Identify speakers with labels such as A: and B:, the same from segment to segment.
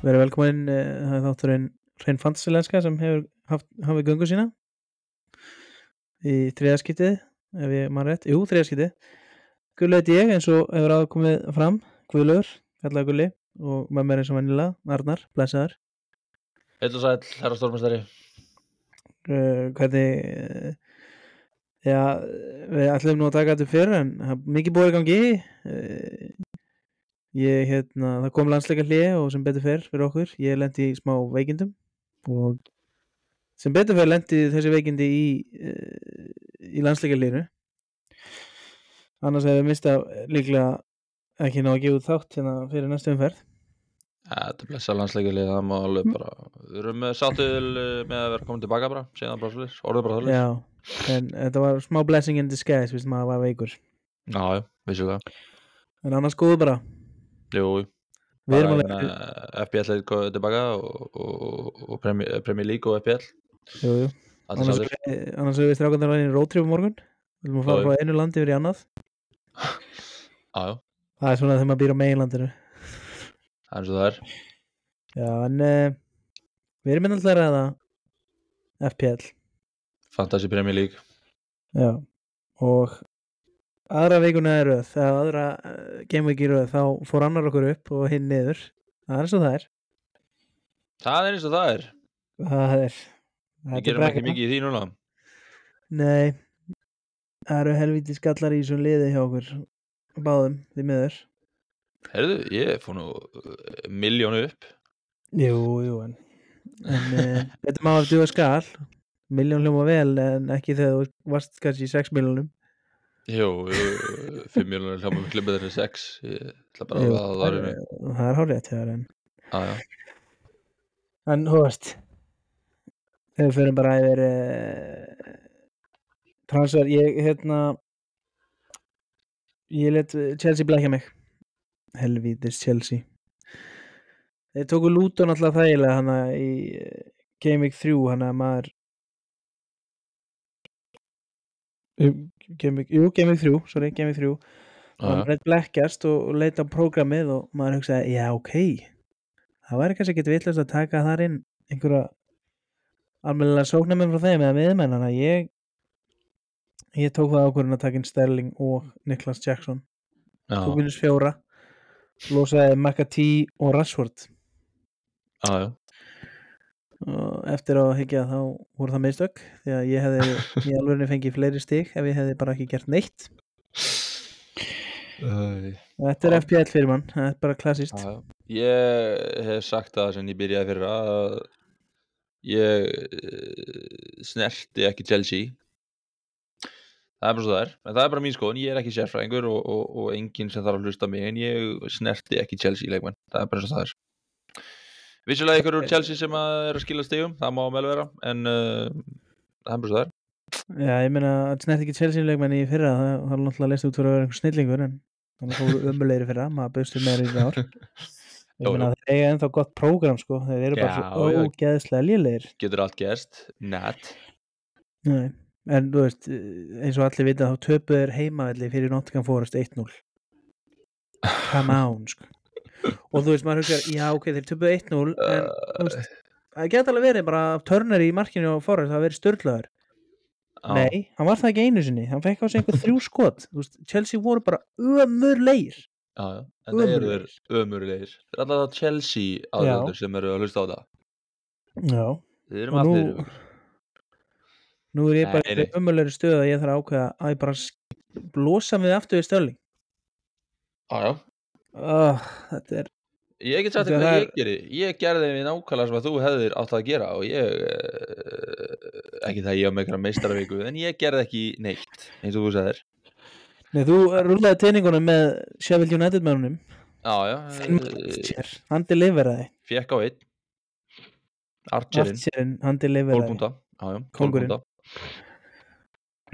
A: Verið velkominn, eh, það er þátturinn Hrein Fantasilenska sem hefur haft, hafið göngu sína í þriðaskiptið, ef ég maður rétt, jú, þriðaskiptið Gullu heiti ég eins og hefur áður komið fram, Guðlaugur, kallaði Gulli og með mér eins og venjulega, Arnar, blessaðar
B: Heill og sæll, herra stórmestari.
A: uh, Hvernig, uh, já, við ætlum nú að taka þetta fyrir en það er mikið búið í gangi uh, Ég, hérna, það kom landsleika hlið og sem betur fer fyrir okkur, ég lendi í smá veikindum og sem betur fer lendi þessi veikindi í, eh, í landsleika hliðinu annars hefur mista eh, líklega ekki ná að gefa út þátt hérna fyrir næstu umferð
B: Þetta er blessa landsleikilið, það má alveg bara, við erum sáttuðil með að vera komin tilbaka bara, segja það bara svolítið, orðið bara svolítið.
A: Já, en þetta var smá blessing in disguise, vissi maður var veikur
B: Já, já, vissulega.
A: en annars góðu bara,
B: Jú,
A: við erum
B: bara
A: að vera
B: eh, FPL er komið tilbaka og, og, og Premier, eh, Premier League og FPL,
A: jú, jú.
B: allir
A: annars
B: sáttir.
A: eh, annars hefur við strákandar í rótrífum morgun við viljum að fara
B: Já, já.
A: frá einu landi yfir í annað
B: Já, já,
A: það er svona þegar maður býr á meginlandinu
B: það er eins og það er.
A: Já, en uh, við erum alltaf að ræða FPL
B: Fantasy Premier League.
A: Já. og aðra vikuna er röð þegar aðra uh, gameweek í röð þá fór annar okkur upp og hinn niður það er eins og það er
B: Það er eins og það er.
A: það er
B: Við
A: þetta er
B: gerum ekki
A: brekka.
B: mikið í því núna.
A: Nei, það eru helviti skallar í þessum liði hjá okkur báðum því miður
B: Herðu, ég fór nú eh, miljónu upp.
A: Jú, jú, en, en uh, þetta má að duga skall miljón hljóma vel en ekki þegar þú varst kannski í 6 miljónum
B: Jú, jú, jú, fimm miljónu hljóma við klippið þenni sex. Ég ætla bara
A: Jú,
B: að það
A: það
B: er
A: er-
B: einu.
A: það er hálfrétt hjá þér en
B: Já, já.
A: En þú veist Þegar við förum bara yfir uh, Transfer, ég hérna Ég let Chelsea blækja mig Helvítis Chelsea Þeir tóku Luton alltaf þægilega hana í eh, Game Week 3 hana að maður Jú, Game Week, jú, Game Week 3 sorry, Game Week 3
B: já, já.
A: hann reitt blekkjast og, og leita á prógramið og maður hugsaði, já ok það væri kannski ekki vitlaust að taka þar inn einhverja almennilega sóknarmenn frá þeim eða miðmenn þannig að ég ég tók það ákvörðin að taka inn Sterling og Niklas Jackson,
B: Já,
A: þú minnus fjóra losaði McAtee og Rashford
B: já, já,
A: og eftir á að higgja þá voru það mistök því að ég hefði í alvegni fengið fleiri stig ef ég hefði bara ekki gert neitt
B: Æ,
A: þetta er
B: Já.
A: FPL fyrir mann, það er bara klassist
B: já. Ég hef sagt það sem ég byrjaði fyrir að ég eh, snerti ekki Chelsea Það er bara svo það er, en það er bara mín skoðun, ég er ekki sérfræðingur og, og, og enginn sem þarf að hlusta á mig en ég snerti ekki Chelsea leikmenn, það er bara svo það er Vissulega ykkur úr Chelsea sem að er að skila stigum, það má vel vera en uh, það er bara svo það er
A: Já, ég meina að snert ekki Chelsea leikmenn í fyrra það, það er náttúrulega leist út fyrir að vera einhver snillingur en þannig að fóru ömulegri fyrra maður bauðstu meira í ár
B: Jú,
A: Ég meina að þeir eiga ennþá gott prógram sko þeir eru bara
B: Já,
A: svo
B: já.
A: ógeðslega lélegir
B: Getur allt gerst, net
A: Nei, en þú veist eins og allir vita þá töpu er heimavelli fyrir Nottingham Forest 1-0 Come on sko og þú veist maður hugsa já ok þeir töpu 1-0 en þú veist það geta alveg verið bara törnari í markinu á Forest það hafi verið störlaður
B: Já.
A: Nei, hann var það ekki einu sinni hann fekk á sig einhver þrjú skot Þú veist, Chelsea voru bara ömurleir
B: Já, já, en það eru
A: Ömurlegir.
B: þeir ömurlegir. Það er alltaf Chelsea aðlöndur sem eru að hlusta á það.
A: Já,
B: Þið erum
A: og nú
B: allir ömurlegir.
A: nú er ég bara
B: Nei, nei.
A: í ömurleiri stöð að ég þarf að ákveða að ég bara sk- losa mig aftur við Störling
B: Já, já.
A: oh, Þetta er
B: Ég get sagt
A: Þetta
B: þér hvað
A: er-
B: ég gerði. Ég gerði við nákvæmlega sem að þú hefðir átt að gera og ég, eh, ekki það ég á með einhverja meistaravíku, en ég gerði ekki neitt, eins og þú sagðir.
A: Nei, þú rúlaði teiningunum með Sheffield United mennunum
B: Já, já.
A: Finn Archer, hann deliveraði
B: Fjekk á einn. Archerinn.
A: Archerinn, hann deliveraði
B: Tólpunta. Já, já.
A: Kóngurinn.
B: Tólpunta.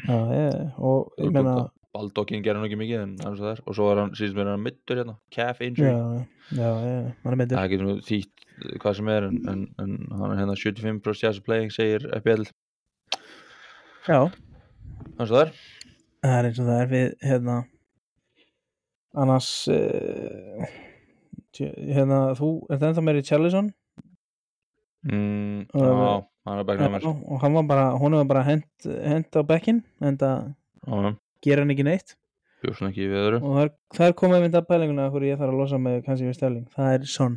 A: Já, ég, og ég meina
B: Tólpunta. Baldokkin gerði hann ekki mikið, en hann svo þær. Og svo er hann, síðan mér er hann mittur hérna. Calf injury.
A: Já, já, já, hann er
B: Það
A: meitur
B: er ekki svona þýtt eh, hvað sem er en, en, en hann er hérna 75% jazz playing segir FBL
A: Já,
B: hans og þar
A: það er eins og það er við hérna annars uh, Tjö- hérna, þú ert ennþá meiri Charlison
B: mm,
A: Og-
B: Já, hann er bæknað mér
A: og hann var bara, hún var bara hent, hent á bekkinn en það
B: Já,
A: gera hann ekki neitt
B: bjóst hann ekki við öðru
A: og þar, þar komum við þetta pælinguna hverju ég þarf að losa með kannski við stæling það er Son,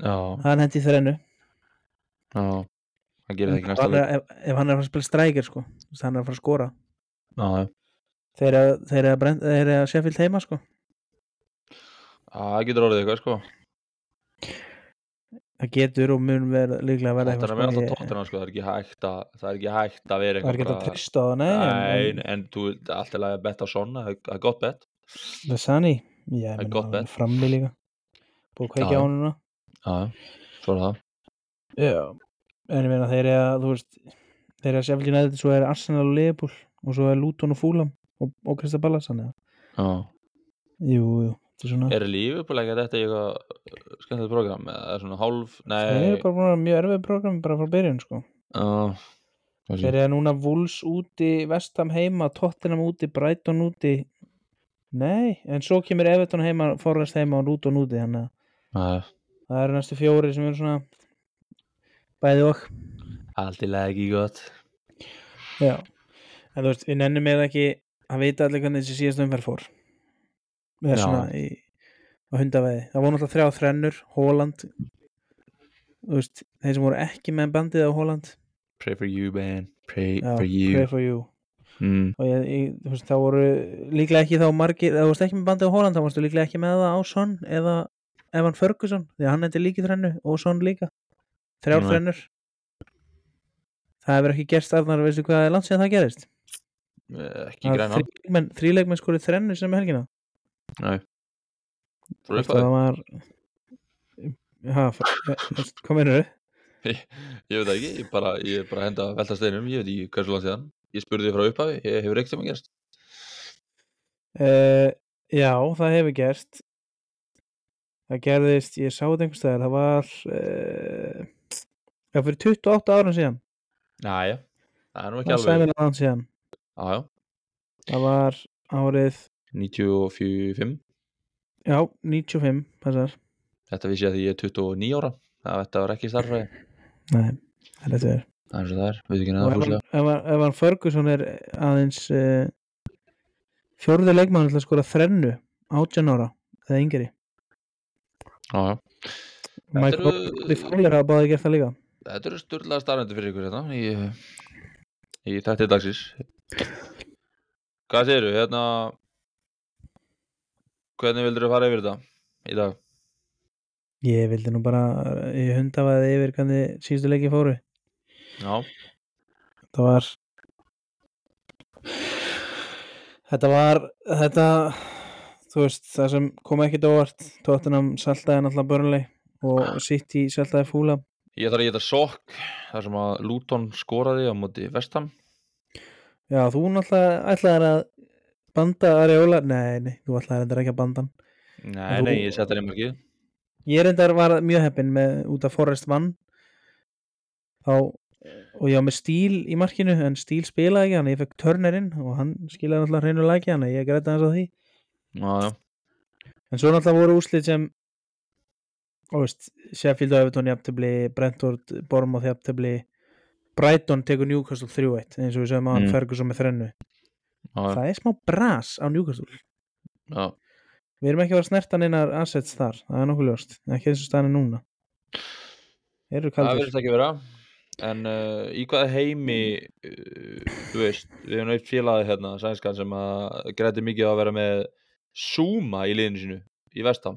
B: Já,
A: hann hendi þrennu
B: já Hann gerir það ekki næsta
A: Hann
B: leik
A: er- ef, ef hann er að fara að spila strækir sko þú veist, hann er að fara að skora
B: Já, já.
A: þeir eru að- þeir eru að, brenn- þeir eru að Sheffield heima sko
B: Já, það getur orðið eitthvað sko
A: það getur og mun verða líklega verða
B: Tóttina með alltaf
A: ég-
B: tóttina sko, það er ekki hægt að það er ekki hægt að vera
A: það er ekki
B: einhver
A: að trista á það nei,
B: Nei,
A: en-
B: en, en þú það er alltaf að betta svona, það er- það er gott bett
A: Lasani, já,
B: Það
A: ég
B: er
A: menn
B: gott
A: hann er
B: bet.
A: frammi líka búið að
B: Já,
A: kveikja á
B: já.
A: hann núna
B: Já, já, svo er það
A: já, en ég meina þeir eru að þú veist, þeir eru að Sheffield United svo er Arsenal og Liverpool og svo er Luton og Fulham og, og Krista Ballas hann eða
B: Já
A: jú, jú, þetta er svona
B: Er Liverpool ekki þetta í eitthvað skemmtilegt program eða svona hálf,
A: þeir
B: nei
A: eru bara búin að vera mjög erfið program bara frá byrjun sko
B: Já, Mm.
A: þeir eru núna Wolves úti, Vestam heima Tottenham úti, Brighton úti nei, en svo kemur Everton heima, Forrest heima og Luton úti þannig að Uh,
B: já,
A: Það eru næstu fjóri sem eru svona bæði og
B: allt í lagi ekki gott
A: Já En þú veist, við nennum eða ekki að vita allir hvernig þessi síðast umferð fór Það er
B: Já.
A: svona í, á hundaveði Það voru náttúrulega þrjá þrennur, Holland Þú veist, þeir sem voru ekki með bandið á Holland
B: Pray for you, man, pray
A: Já,
B: for you
A: Pray for you
B: mm.
A: Og ég, ég, þú veist, þá voru líklega ekki þá margir ef Þú varst ekki með bandið á Holland, þá varstu líklega ekki með það á Son eða Evan Ferguson því að hann hefði líki þrennu og Son líka þrjár
B: Nei.
A: þrennur það hefur ekki gerst Arnar, veistu hvað er langt síðan það gerist
B: Eh, Ekki
A: Það
B: græna,
A: þríleikmenn, þríleikmenn skorið þrennu sem helgina
B: frá
A: það
B: uppfæði
A: var ha, f- kom innur
B: Ég veit það ekki, ég bara, ég er bara að henda að velta steinum, ég veit ekki hversu langt síðan Ég spurði þig frá upphafi, ég hefur ekkert sem að gerst
A: uh, já, það hefur gerst það gerðist ég sá þetta einhvers staðar, það var uh, já, fyrir 28 árum síðan
B: Næja, það er nú ekki
A: það var
B: alveg
A: sæmilega án síðan
B: Já, já,
A: það var árið
B: 95
A: já, 95 passar,
B: Þetta vissi ég að því ég er 29 ára Það þetta var ekki starfræði
A: nei, það er þetta verið
B: Það er svo það er, við ekki
A: og
B: neða
A: ef hann-
B: fúslega
A: ef hann- ef hann Ferguson er aðeins uh, fjórði leikmann til að skora þrennu 18 ára eða yngri
B: Já, já Þetta
A: Michael
B: eru-
A: Oakley Fowler hafa báði gert það líka
B: Þetta eru sturlaða starfandi fyrir ykkur hérna í, í þætti dagsins Hvað segirðu, hérna Hvernig vildur þú fara yfir þetta í dag?
A: ég vildi nú bara, ég hundafaði yfir hvernig síðustu leiki fóru
B: Já,
A: þetta var þetta var þetta, þú veist, það sem kom ekkit óvart, tóttunum saltaði náttúrulega börnleg og sitt í saltaði fúla
B: ég þarf að geta sokk þar sem að Luton skoraði á móti Vestam
A: já, þú náttúrulega ætlaðir að banda Ariola, nei, nei, þú ætlaðir endur ekki að banda hann
B: Nei,
A: Þú-
B: nei, ég setja það í markið
A: ég reyndar var mjög heppin með út af Forrest vann þá og ég var með stíl í markinu en stíl spilaði ekki, þannig að ég fekk törnerinn og hann skilaði náttúrulega hreinu læki þannig að ég græta hans á því
B: Já, já,
A: en svo náttúrulega voru úslið sem þú veist, Sheffield og Everton jafntöfli, Brentford, Bournemouth jafntöfli Brighton tekur Newcastle 3-1 eins og við sögum að hann
B: Mm.
A: Ferguson með þrennu
B: já, já,
A: það er smá bras á Newcastle
B: já.
A: við erum ekki að vera snertan einar assets þar það er nokkuð ljóst, ekki eins og staðan er núna Þeir eru
B: Það
A: kaldir
B: verðist ekki vera En uh, í hvaða heimi uh, Þú veist, við hefum eitt félagi hérna Sænskan sem að græti mikið á að vera með Zuma í liðinu sínu Í vestam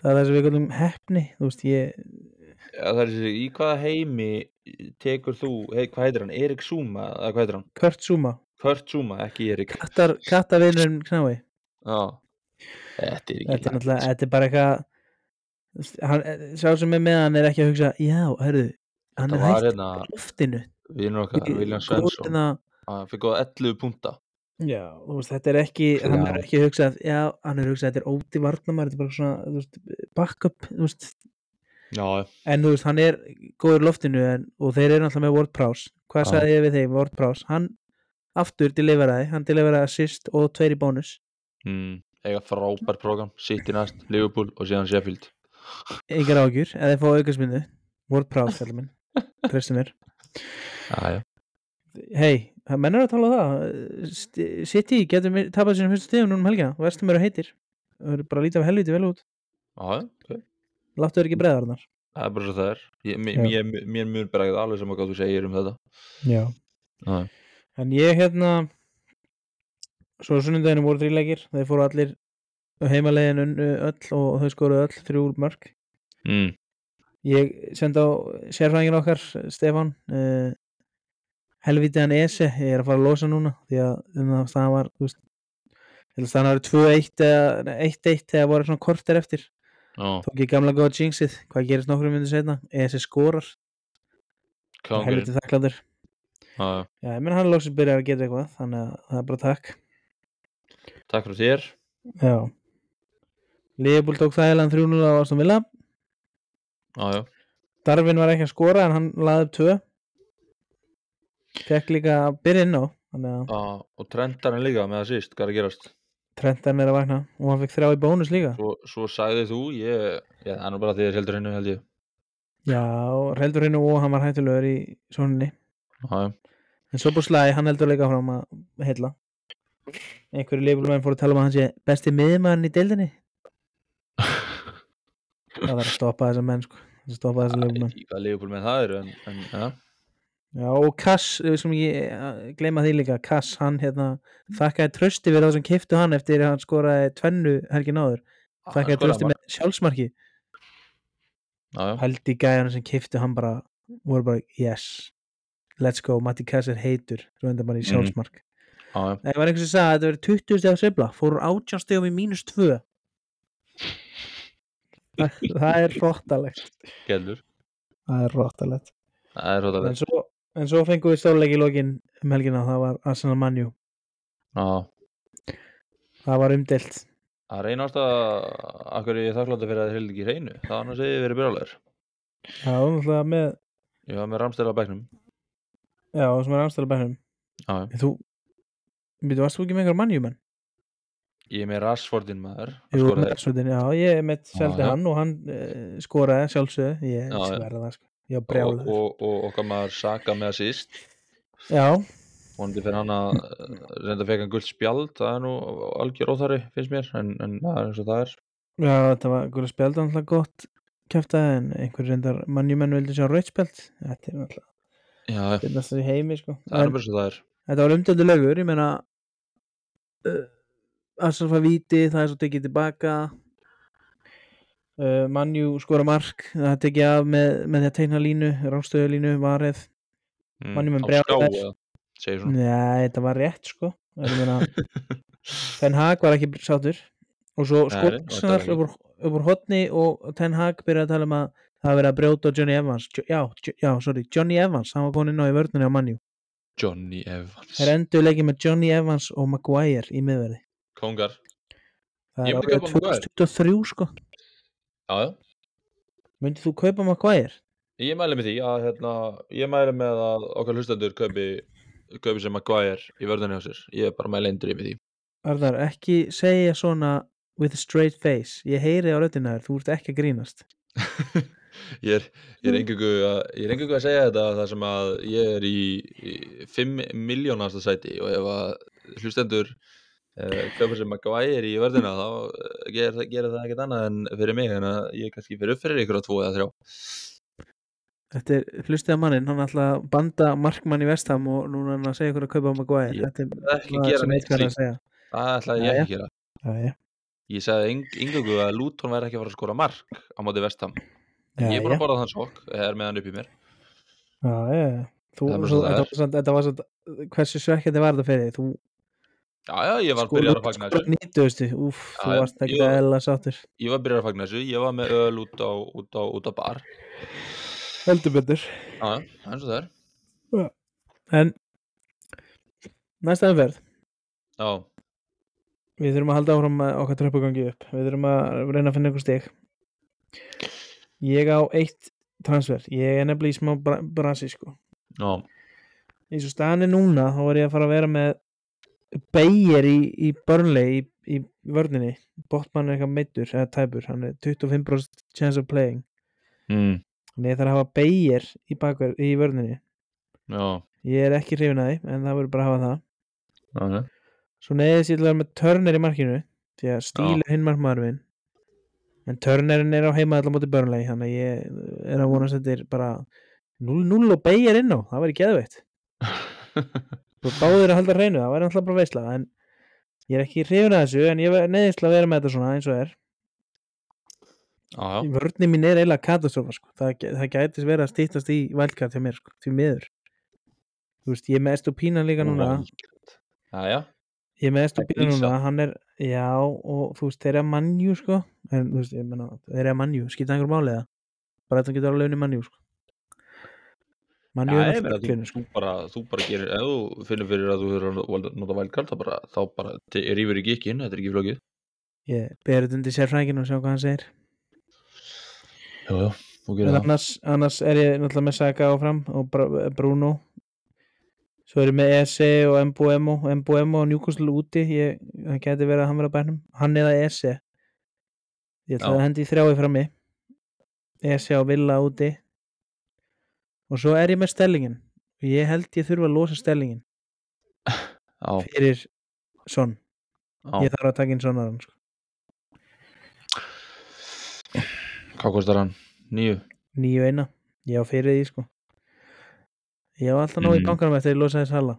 A: það er það sem við kallum hefni þú veist ég,
B: ja, það er, þessi- Í hvaða heimi eh, tekur þú hei, Hvað heitir hann? Erik Zuma? Eða hvað heitir hann?
A: Kurt Zuma
B: Kurt Zuma, ekki Erik
A: kattar, kattavinurinn knái
B: Já Þetta er
A: þetta
B: ekki
A: er náttúrulega, þetta er bara eitthvað þú veist, hann, sá sem er með hann er ekki að hugsa já, hörðu, hann
B: Þetta
A: er
B: var
A: hægt
B: hérna
A: í loftinu
B: Vinnur okkar, William Svensson
A: Góðina,
B: Hann fyrir góða 11 punta
A: já, þú veist, þetta er ekki hann er ekki að hugsa, að- já, hann er að hugsa að þetta er óti varnamar, þetta er bara svona þú veist, backup, þú veist
B: Já,
A: en þú veist, hann er góður í loftinu en, og þeir eru alltaf með Ward Prowse hvað
B: Já.
A: sagði ég við þeim, Ward Prowse hann aftur deliveraði, hann deliveraði assist og tveir í bónus
B: mm, eiga frábær program, City næst, Liverpool og síðan Sheffield
A: Engar ágjur, eða þið fá aukastmyndu Word proud, fællum minn Treystu mér
B: Aja.
A: Hei, menn eru að tala um það Sti- City getur mi- tapað sínum fyrstu stegum núna um helgina og verstum eru heitir Það eru bara að líta af helviti vel út
B: Aja, ok.
A: Láttu þér ekki breðarnar
B: það er bara svo það er ég, mér,
A: Já.
B: mér, mér mun bara ekkert alveg sem að hvað þú segir um þetta
A: Já
B: Aja.
A: En ég hérna Svo á sunnudaginu voru þrýleikir Þeir fóru allir heimalegin unnu öll og þau skoru öll þrjú mörg
B: mm.
A: Ég sendi á sérfræðingin okkar Stefan uh, Helvítið hann Ese Ég er að fara að losa núna Því að um, það var þú veist, ég held að Það var 2-1 eða nei, 1-1 þegar voru svona kortir eftir
B: Ó,
A: Tók ég gamla góða jinxið Hvað gerist nokkrum myndir setna Ese skorar
B: kongurinn
A: Helvítið þakkláttur
B: Aja.
A: Já, ég menn hann loksins byrjar að geta eitthvað Þannig að það er bara takk
B: Takk fyrir þér
A: Já Leifbúl tók þægilegan 3-0 á Aston Villa
B: Aja.
A: Darvin var ekki að skora en hann laði upp 2 Fekk líka að byrja inn á Þannig að
B: Aja. og trendarinn líka með það síst, hvað er að gerast
A: Trentan er að vakna og hann fekk þrjá í bónus líka
B: svo, svo sagði þú, ég já, það er nú bara því að heldur hennu held ég
A: Já, heldur hennu og hann var hættulegur í soninni
B: Aja.
A: En svo búið slæði, hann heldur líka fram að heilla Einhverju leifbúlmenn fóru að tala um að hann sé besti miðmann í deildinni Það þarf að stoppa þessa menn sko Það þarf að stoppa þessa
B: Ég veit
A: leifbúlmenn
B: ekki hvað leifupúl með það eru en, en ja.
A: Já, og Kass, eh, sem ég eh, gleyma því líka, Kass, hann hérna þakkaði trösti við þá sem keiftu hann eftir að hann skoraði tvennu helgin áður þakkaði trösti með sjálfsmarki
B: með
A: held í gæjana sem keiftu hann bara voru bara, yes let's go, Matti Kass er heitur svo enda bara í
B: Mhm.
A: sjálfsmark Það var einhvers sem sagði að þetta verið 20 steg að sveifla fóru 18 stegum í mínus 2 það, það er róttalegt
B: Gellur,
A: það er róttalegt
B: það er hóttalegt
A: en svo, en svo fengum við stórleik í lokin um helgina, það var Arsenal Manju
B: Það
A: það var umdelt
B: reynast að akkur ég er þakkláttur fyrir að þið held ekki í hreinu það var annars að ég verið byrjálegar
A: Já, náttúrulega með
B: ég var með ramstæla á bæknum
A: Já, sem er anstæðlega bænum
B: Já, já.
A: En Þú, býtu, varst þú ekki með einhver mannjumenn?
B: ég er með Rashfordin maður að
A: Jú,
B: skora
A: með
B: þér.
A: Rashfordin, já, ég mitt
B: Já,
A: seldi
B: já.
A: hann og hann uh, skoraði sjálfsögðu, ég
B: Já, já.
A: sverða það sko Já,
B: og,
A: brjálaður
B: og, og okkar maður Saka með assist
A: Já,
B: vonandi fyrir hann að eh, reynda fekk hann gult spjald það er nú algjör óþari finnst mér en, en það er eins og það er
A: já, þetta var gula spjald alltaf gott kæftaði en einhver reyndar mannjumenn vildi sjá rauðspjald Þetta er alltaf,
B: Já, já,
A: þetta er alltaf í heimi sko
B: það er
A: en,
B: bara eins og það er
A: Þetta var umdöldu lögur, ég meina uh, Arsenal fær víti, það er svo tekið tilbaka uh, Manju skora mark það er tekið af með, með því að teikna línu ránstöðulínu, varð
B: Mm,
A: Manni með
B: á
A: brjálæðis.
B: ská eða segir
A: Mm.
B: svona
A: Nei, þetta var rétt sko Ég meina, Ten Hag var ekki sátur og svo
B: Nei,
A: skot
B: nei, þetta var
A: Arsenal
B: ekki.
A: upp úr- upp úr hotni og Ten Hag byrjaði að tala um að það var verið að brjóta á Johnny Evans Jo- já, Jo- já, sorry, Johnny Evans hann var komin inn á í vörnunni á Manju
B: Johnny Evans
A: þeir endur leikið með Johnny Evans og Maguire í miðverði
B: Kongar
A: það
B: Ég
A: er
B: myndi
A: árið
B: kaupa Maguire.
A: 2023 sko
B: Já, já
A: myndið þú kaupa Maguire?
B: Ég mæli með því að hérna, ég mæli með að okkar hlustendur kaupi, kaupi sem Maguire í vörðunni á sér. Ég er bara mæli eindrið með því.
A: Arnar, ekki segja svona with a straight face ég heyri á röddina þér, þú ert ekki að grínast
B: Ég er, ég er engungu að, ég er engungu að segja þetta þar sem að ég er í, í 5 miljónasta sæti og ef að hlustendur eh, kaupa sem Maguire í vörðuna þá eh, gerir það- gerir það ekkert annað en fyrir mig en að ég kannski fyrir upp fyrir ykkur á 2 eða 3.
A: Þetta er hlustið að mannin, hann ætla að banda markmann í vestam og núna er hann að segja ykkur að kaupa Maguire
B: Ég
A: Þetta er
B: Það er ekki
A: það
B: að gera
A: sem
B: neitt
A: eitt verður að
B: slíkt.
A: segja
B: Það ætlaði ég ekki að gera.
A: Já, já,
B: Ég sagði engungu að Luton væri ekki að fara að skora mark á móti vestam.
A: já,
B: Ég er
A: já,
B: búin að borða þann sokk, er með hann upp í mér.
A: já, já, já. Þú,
B: Það er bara
A: þú,
B: svo
A: þetta,
B: það er.
A: var samt, þetta var samt, hversu svekkjandi var þetta fyrir þig? Þú
B: Já, já, ég var
A: sko,
B: byrjar að fagna þessu
A: nýttuðustu, úf,
B: Já,
A: þú
B: já,
A: varst ekki
B: ég-
A: að ella sáttur
B: Ég var byrjar að fagna þessu, ég var með öl út á, út á, út á bar
A: Heldur betur
B: Já, já, eins og það er
A: En, næsta umferð
B: Já,
A: Við þurfum að halda áfram með okkar tröppugangi upp Við þurfum að reyna að finna einhver stig Ég á eitt transfer Ég er nefnilega í smá bra brasi sko
B: já,
A: eins og staðan er núna þá var ég að fara að vera með Beyer í, í Burnley í, í vörninni Botman er eitthvað meittur, eða tæpur hann er 25% chance of playing
B: mm.
A: Hmm. þannig ég þarf að hafa Beyer í, bakver- í vörninni
B: Já,
A: ég er ekki hrifin að því, en það verður bara að hafa það
B: já,
A: svo neyðis ég til að vera með Turner í markinu því að stíl er hinn markmaður minn en Turnerin er á heima allar móti Burnley þannig að ég er að vonast að þetta er bara 0-0 og Beyer inn á það væri geðveitt og báðir að halda hreinu, það væri alltaf bara veisla en ég er ekki hrifin að þessu en ég neðist að vera með þetta svona eins og er
B: já, já.
A: vörnum mín er eiginlega katastrófa sko. það, gæ- það gætis verið að stýttast í valdkart hjá mér, sko, því miður þú veist, ég er með Estupínan líka núna
B: Já, já,
A: ég er með
B: Það er
A: Estupínan
B: Ísak.
A: núna, hann er já, og þú veist, þeir eru að mannjú sko. en þú veist, ég menna, þeir eru að mannjú skipta einhver máli það, bara þetta getur alveg unni mannjú sko.
B: já
A: mannjú er
B: ég meina,
A: náttúrulega
B: þú,
A: kjörnir, sko.
B: þú, bara, þú bara gerir ef þú finnir fyrir að þú hefur að nota- nota vælkart þá bara, þá bara te- rífur ekki ekki inn, þetta er ekki flókið
A: ég ber þetta undir sérfrængin og sjá hvað hann segir
B: Já, já, þú gerir
A: En
B: það
A: annars, annars er ég náttúrulega með Saga áfram og Bra- Bruno Svo er ég með ESE og Mbuemo Mbuemo og Newcastle úti ég, Það geti verið að hann verið á bænum Hann eða ESE Ég ætla
B: Já.
A: að hendi í þrjái frammi ESE og Villa úti Og svo er ég með stellingin Og ég held ég þurfa að losa stellingin
B: Já,
A: Fyrir Son
B: já,
A: Ég þarf að taka inn Sonaran sko.
B: hvað kostar hann? Nýju?
A: Nýju eina Ég á fyrir því sko Ég á alltaf nóg í
B: Mhm.
A: bankanum eftir að ég losa þess hala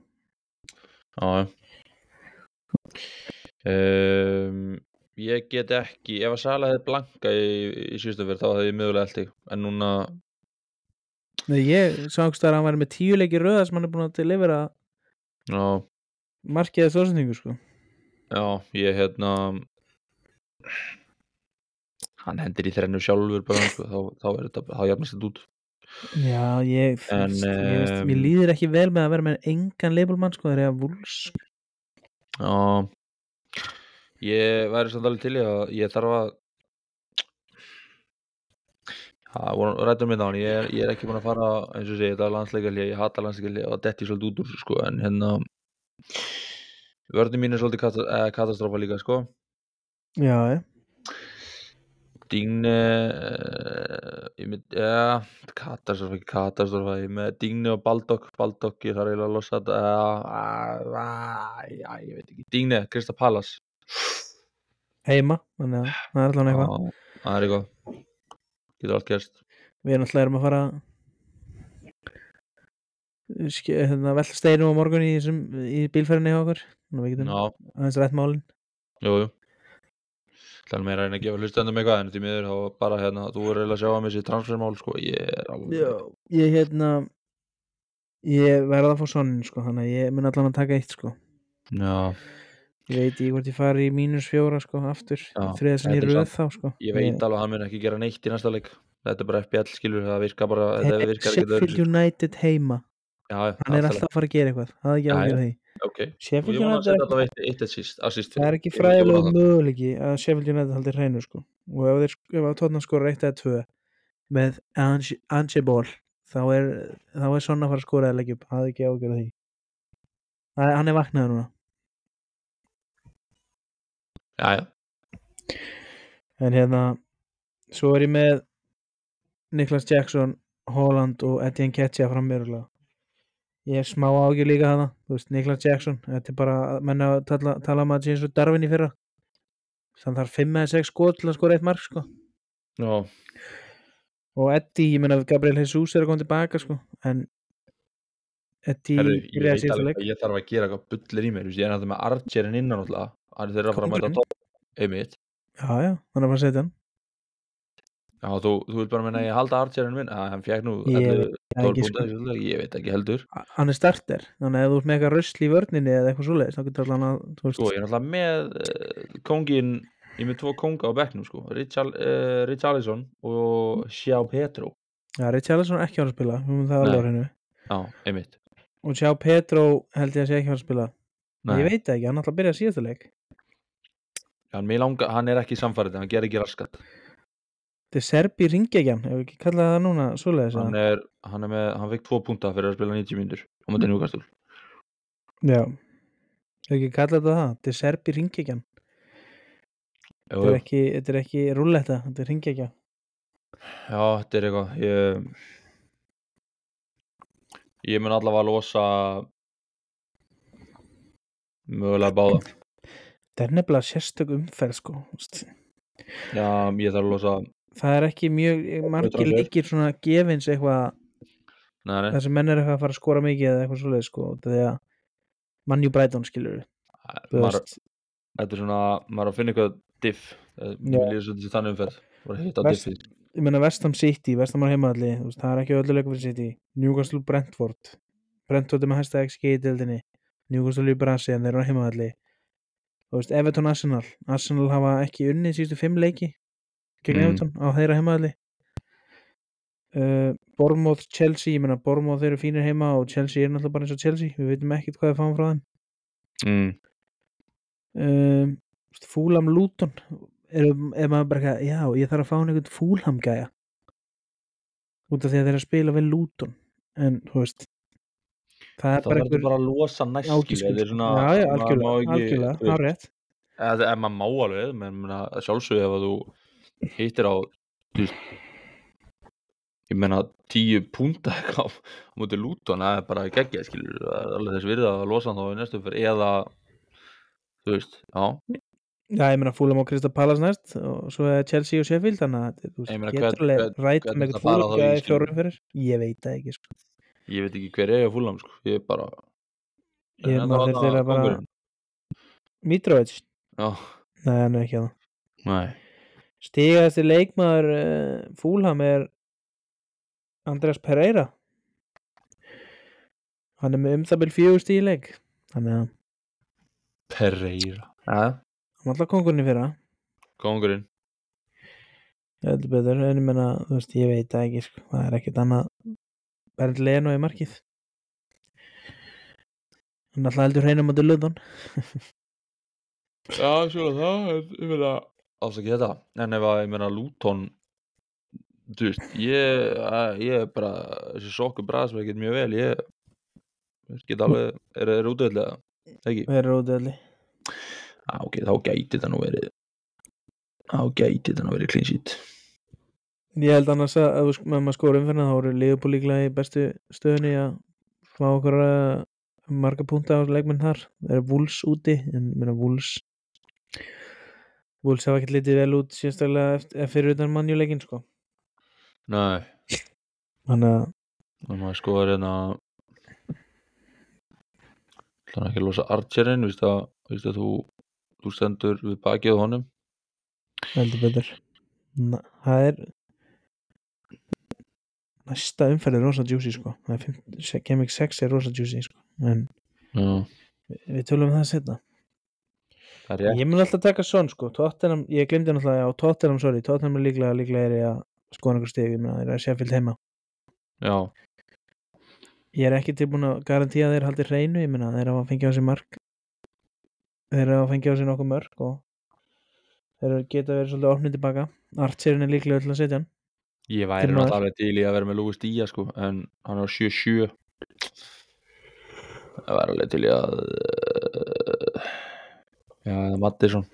B: Já um, Ég get ekki Ef að Sala hefði blanka í, í síðustu fyrir þá hefði ég mögulega eldi en núna,
A: Nei, ég sá einhvers staðar að hann væri með tíu leiki í röð þar sem hann er búin að delivera
B: já,
A: markið eða þósendingu sko.
B: já ég hérna hann hendir í þrennu sjálfur bara, sko, þá, þá er þetta, þá jafnast þetta út
A: Já, ég,
B: En, um,
A: en, ég veist,
B: em,
A: mér líður ekki vel með að vera með engan labelmann sko, þegar ég að vúls
B: Já Ég væri samt alveg til í að ég þarf að Það voru rættum með það um ég, er- ég er ekki búin að fara eins og segja, þetta er landsleikarlega, ég hata landsleikarlega og detti svolítið út úr þessu, sko, en hérna vörðin mín er svolítið kata, eh, katastrófa líka sko
A: Já, ég.
B: Digni eh, ég mynd, ja, katastrófa, ekki katastrófa ég er með Digni og Baldok Baldok, ég þarf eiginlega að losa þetta eh, ah, ah, já, ég veit ekki Digni, Krista Pallas
A: heima þannig að það er allan eitthvað
B: Já, það er eitthvað Getur allt gerst
A: Við erum alltaf erum að fara ske- hérna, velta steinum á morgun í, þessum, í bílferðinni hjá okkur Þannig að við getum
B: Já,
A: aðeins rætt málin
B: jú, jú Það er meira að reyna að gefa hlustendum eitthvað en því miður þá var bara hérna, þú er eiginlega að sjá að mér sér transfermál sko, ég er alveg
A: Ég hérna ég verða að fá sonin sko, þannig að ég mun allan að taka eitt sko.
B: Já,
A: Ég veit ekki hvort ég fari í mínus fjóra sko, aftur,
B: Já,
A: þriða sem ég
B: þetta er
A: röð þá sko.
B: ég veit alveg að hann mun ekki gera neitt í næsta leik Þetta er bara FBL skilur, það virkar bara Þetta
A: Þetta er
B: virkar ekki sko.
A: Sheffield United heima
B: Já, já,
A: Hann er
B: allt í
A: alltaf að fara að gera eitthvað Það er ekki
B: Já,
A: alveg að því
B: lagi. Ok, og
A: Sheffield
B: ég vona að
A: United er ekki,
B: setja alltaf eitt, eitt assist, assist
A: það er ekki
B: Ég vona að
A: fræðilegu
B: það.
A: möguleiki að Sheffield United haldi hreinu sko. og ef þeir ef að tóna skora 1 eða 2 með Ange Ange Ball þá er, þá er svona að fara að skora eða leggja upp það er ekki ágjörð því Það er- Hann er vaknaður núna
B: Já, já,
A: en hérna, svo er ég með Niklas Jackson Holland og Eddie Nketiah fram frammeðurlega ég er smá ágjur líka hana þú veist, Niklas Jackson, þetta er bara menna að tala, tala um að sé eins og Darwin í fyrra þannig þarf 5 eða 6 skot til að skora eitt mark sko
B: já,
A: og Eddie, ég menna Gabriel Jesus er að koma tilbaka sko, en Eddie
B: herru, ég
A: byrjaði
B: veit
A: síðasta
B: alveg
A: leik.
B: að ég þarf að gera eitthvað bullir í mér, þú veist, ég er náttúrulega með Archerinn innan alltaf, hann er þeirra að fara að mæta
A: Kóngurinn.
B: top, einmitt
A: já, já, hann er bara að setja hann
B: Já, þú, þú vilt bara meina að ég halda artjarinn minn að hann fjekk nú
A: Ég
B: 11,
A: Það er
B: 12
A: ekki,
B: púnta,
A: sko,
B: ég veit ekki heldur
A: hann er starter þannig að ef þú ert með eitthvað rusl í vörninni eða eitthvað svoleiðis, þá getur allan að þú veist,
B: Sko, ég er náttúrulega með uh, kóngin ég er með tvo kónga á bekknum sko Richarl, uh, Richarlison og Sjá Petro
A: já, Richarlison er ekki að fara að spila við munum það alveg á
B: Nei.
A: hennu
B: Já, einmitt
A: og sjá Petro held ég að sé ekki að fara að spila ég veit það ekki, hann ætla að byrja síðasta leik
B: hann, mig langa, hann er ekki samfærið, hann ger ekki raskat
A: þetta er Serbi ringegjan, ef við ekki kallaði það núna svoleiðis
B: hann
A: eða?
B: er, hann
A: Mm.
B: er með, hann fekk tvo púnta fyrir að spila 90 mínútur og maður er njúkastul
A: já, Hefur ekki kallað þetta það? Þetta er serbi ringekjan
B: Jú,
A: Þetta er
B: jú.
A: ekki, þetta er ekki rúlletta, þetta er ringekja
B: Já, þetta er eitthvað Ég, ég mun allavega losa Mögulega báða
A: Þetta er nefnilega sérstök umferð sko þú veist.
B: Já, ég þarf að losa
A: Það er ekki mjög, margir
B: Utanför.
A: líkir svona gefins eitthvað
B: Nei, nei,
A: þessi menn er eitthvað að fara að skora mikið eða eitthvað svoleið sko, því að mannjú Brighton skilur þú
B: maður,
A: veist,
B: þetta er svona Maður er að finna eitthvað diff Eh, Mér
A: Já.
B: líður svolítið sem þannig umferð Bara að hitta
A: Verst-
B: diffið
A: ég meina Vestam City, Vestam á heimaðalli þú veist, það er ekki öllu leikur fyrir City Newcastle Brentford, Brentford er með hæsta XG í deildinni, Newcastle í Brasi en þeir eru á heimaðalli þú veist, Everton Arsenal, Arsenal hafa ekki unnið síðustu fimm leiki gegn
B: Mm.
A: Everton á þeirra heimaðalli uh, Bournemouth Chelsea, ég meina Bournemouth eru fínir heima og Chelsea er náttúrulega bara eins og Chelsea við veitum ekkit hvað við fáum frá þeim
B: mm.
A: um, Fúlam Luton er, er maður bara eitthvað, já, ég þarf að fá hann einhvern Fúlam gæja út af því að þeir eru að spila vel Luton en, þú veist það er
B: Það
A: bara
B: verður
A: einhver
B: bara að losa næst skilur,
A: ágiskull
B: Þetta er svona
A: já, já,
B: maður
A: algjörlega,
B: má ekki-
A: algjörlega,
B: þú veist,
A: árétt
B: eða eða maður má alveg menn menna, sjálfsögðu ef að þú hittir á þú veist, ég meina tíu púnta á á móti Luton það er bara geggja skilur það er alveg þess virði að losa hann þá í næstu fyrir eða þú veist, já
A: já, ég meina Fúlam og Krista Pallas næst og svo er Chelsea og Sheffield þannig að þú
B: Ég
A: veist,
B: meina, hvern-
A: getur alveg
B: hvern-
A: rætt
B: hvern
A: með
B: ertu
A: einhvern
B: að fara
A: Fúlam
B: þá í,
A: gæja í
B: skilur?
A: fjórum fyrir ég veit það ekki, sko
B: ég veit ekki hver er að fúlam sko. ég er bara
A: ég
B: En
A: maður
B: Hérna þarna
A: þeir þeirra bara
B: kóngurinn.
A: Mitrovic,
B: já,
A: nei, hann er ekki að
B: nei,
A: Stigasti leikmaður uh, Fúlham er Andrés Pereira Hann er með um það byrð fjögur stíleik Þannig að hann
B: Pereira ja.
A: var alltaf kongurinn í fyrra
B: kongurinn
A: Heldur betur, en ég menna, þú veist, ég veit það ekki sko, það er ekkert annað Bernd Leno í markið Hann alltaf heldur hreinum á Dilludon
B: já, sjóla það, en ég meina afsakið þetta, en ef að ég meina Luton þú veist, ég að- ég er bara, þessi sokku bræðs mér ekkert mjög vel, ég ég get alveg, er það útöðlega ekki,
A: Við erum ódöðli
B: á, ok, þá gæti þetta nú verið þá gæti þetta nú verið clean sheet
A: Ég held annars að ef þú sk- ef maður skora umfyrir þá eru Leopold líklega í bestu stöðunni að fá okkur eh, marga púnta á leikmenn þar það eru Wolves úti en ég meina Wolves Wolves hafa ekkert litið vel út sérstaklega eft- eh, fyrir utan mannjuleikin sko
B: nei,
A: þannig að
B: þá maður skoðar hérna þannig ekki að losa Archerinn, víst að, víst að þú þú stendur við bakið á honum
A: heldur betur Na, það er næsta umferð er rosa juicy sko Það er fimm- se- Game 6 er rosa juicy sko en
B: já,
A: við tölum um það setna
B: það er rétt
A: Ég mun alltaf taka Son sko, Tottenham, ég glemdi náttúrulega á Tottenham, sorry, Tottenham er líklega, líklega er ég að skoða einhver stig, ég meina þeir eru að Sheffield heima.
B: já,
A: Ég er ekki tilbúin að garantía að þeir haldi hreinu, ég meina þeir hafa fengið á sig mark, þeir hafa fengið á sig nokkuð mörg og þeir eru- geta verið svolítið opnið tilbaka. Archerinn er líklega öll að setja hann.
B: Ég væri
A: Til maður.
B: náttúrulega alveg til í að vera með Lúi Stíja sko, en hann er á 7-7 Það væri alveg til í að eh, Já, eða Mattisson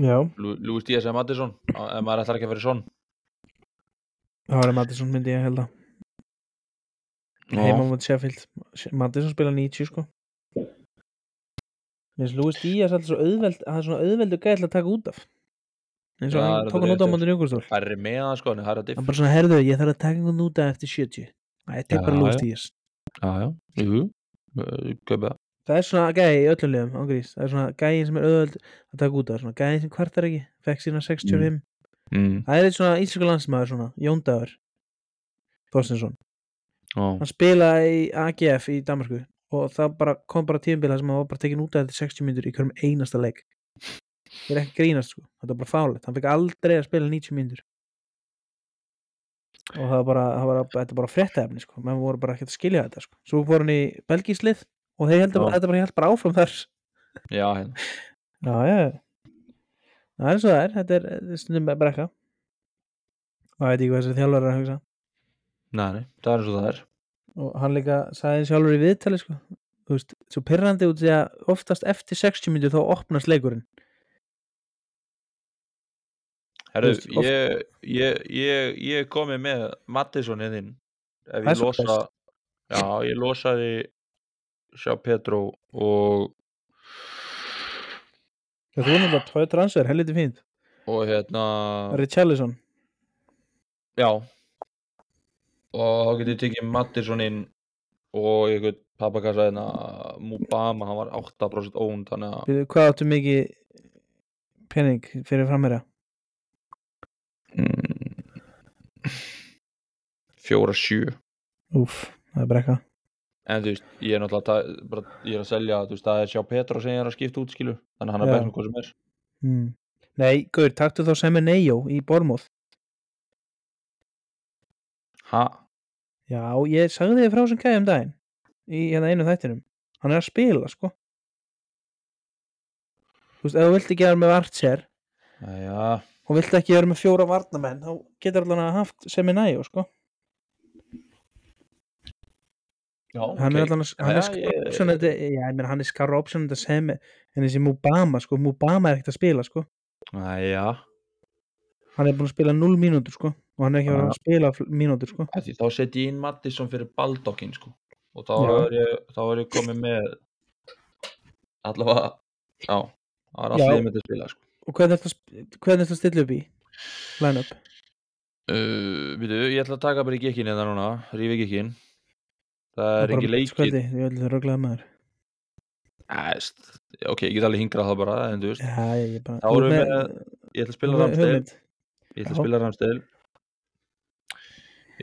A: Já.
B: Lúi Stíja segir Mattisson En maður ætlar ekki að vera svon
A: Það var að Mattisson myndi ég held að, heima
B: Já,
A: mot Sheffield. Mattisson spila 90 sko. Mér finnst Lúis Díaz alltaf svo auðveld, það er svona auðveldu gæðilega að taka út af. Eins og
B: Já,
A: hann
B: þetta
A: tók
B: er
A: hann út á
B: rétt,
A: mótin Jökulstól.
B: Það er með hann sko, en það er að diff
A: hann bara svona herðu ég þarf að taka einhvern út af eftir 70 Æ, þetta er
B: Já,
A: bara
B: já.
A: lúst í þess
B: Já, já, jú, köpa
A: það er svona gæi í öllum liðum ángrís það er svona gæi sem er auðvöld að taka út af svona gæi sem kvartar ekki fekk sína 65
B: mm,
A: það er eitt svona íslensku landsmaður svona Jóndagur Þorstinsson
B: Já,
A: hann spilaði í AGF í Danmarku og það bara kom bara tíðinbila sem hann var bara tekin út af eftir 60 myndur í hverjum einasta leik ég er ekki að grínast sko þetta er bara fálegt hann fekk aldrei að spila 90 myndur og það var bara, það var, þetta er bara fréttaefni sko, menn voru bara ekkert að skilja þetta sko svo voru hann í Belgíslið og þeir heldur
B: Já.
A: bara, þetta bara held bara áfram þar já,
B: já, hérna
A: já það er eins og það er, þetta er, þetta er stundum brekka maður veit ekki hvað þessi þjálfur er að hugsa
B: Nei, nei, það er eins og það er
A: og hann líka sagði sjálfur í viðtali sko. Þú þú veist, svo pyrrandi út því að oftast eftir 60 myndu þá opnast leikurinn
B: Herru,
A: veist, oft-
B: ég, ég, ég, ég komi með Mattisson eðinn ef
A: Það er
B: ég
A: svo
B: losa
A: best.
B: já, ég losaði sjá Petro og
A: það þú er náttúrulega tvö transfer, helviti fínt
B: og hérna
A: Richarlison,
B: Já Og þá getur ég tekið Mattisson inn og einhvern pappakassa hérna Mubama, hann var 8% ónd þannig að
A: Bíddu, hvað áttu mikið pening fyrir framherja
B: mm, 4-7
A: úf, það er brekka
B: En þú veist, ég er náttúrulega að ta- bara, ég er að selja, þú veist, það er sjá Petra sem ég er að skipta út skilu, þannig að hann er
A: Já.
B: best með hvað sem er
A: mm. nei, gaur, taktu þá sem er Neyjó í Bormóð
B: Ha?
A: já, ég sagði þið frá sem kæði um daginn í hérna einu þættinum hann er að spila, sko þú veist, ef þú vilt ekki að vera með Archer
B: Jæja,
A: og vilt ekki vera með fjóra varnamenn þá getur allan að haft sem er Neyjó, sko
B: já, ok
A: hann er allan að hann
B: Já,
A: er skara
B: ég-
A: option þetta já, ég meina hann er skara option þetta sem en þessi Mubama sko Mubama er ekkert að spila sko
B: Jæja,
A: hann er búin að spila 0 mínútur sko og hann er ekki að vera að spila fl- mínútur sko
B: Af því þá setji ég inn Mattisson fyrir Baldokkin sko og þá
A: Já.
B: er ég, þá er ég komið með allavega já, það var
A: Já.
B: allir með þetta spila sko.
A: og hvernig er þetta að stilla upp í line-up
B: uh, veitu, ég ætla að taka bara í gekkin eða núna, rífi gekkin það er
A: Bara
B: ekki leikir
A: skoti, ég vil röglega maður
B: Æst, ok, ég get alveg hingrað það bara en þú veist,
A: já ég er bara
B: Þá erum við með- ég ætla að spila Ramsdale
A: hugmynd
B: ég ætla
A: Já.
B: að spila Ramsdale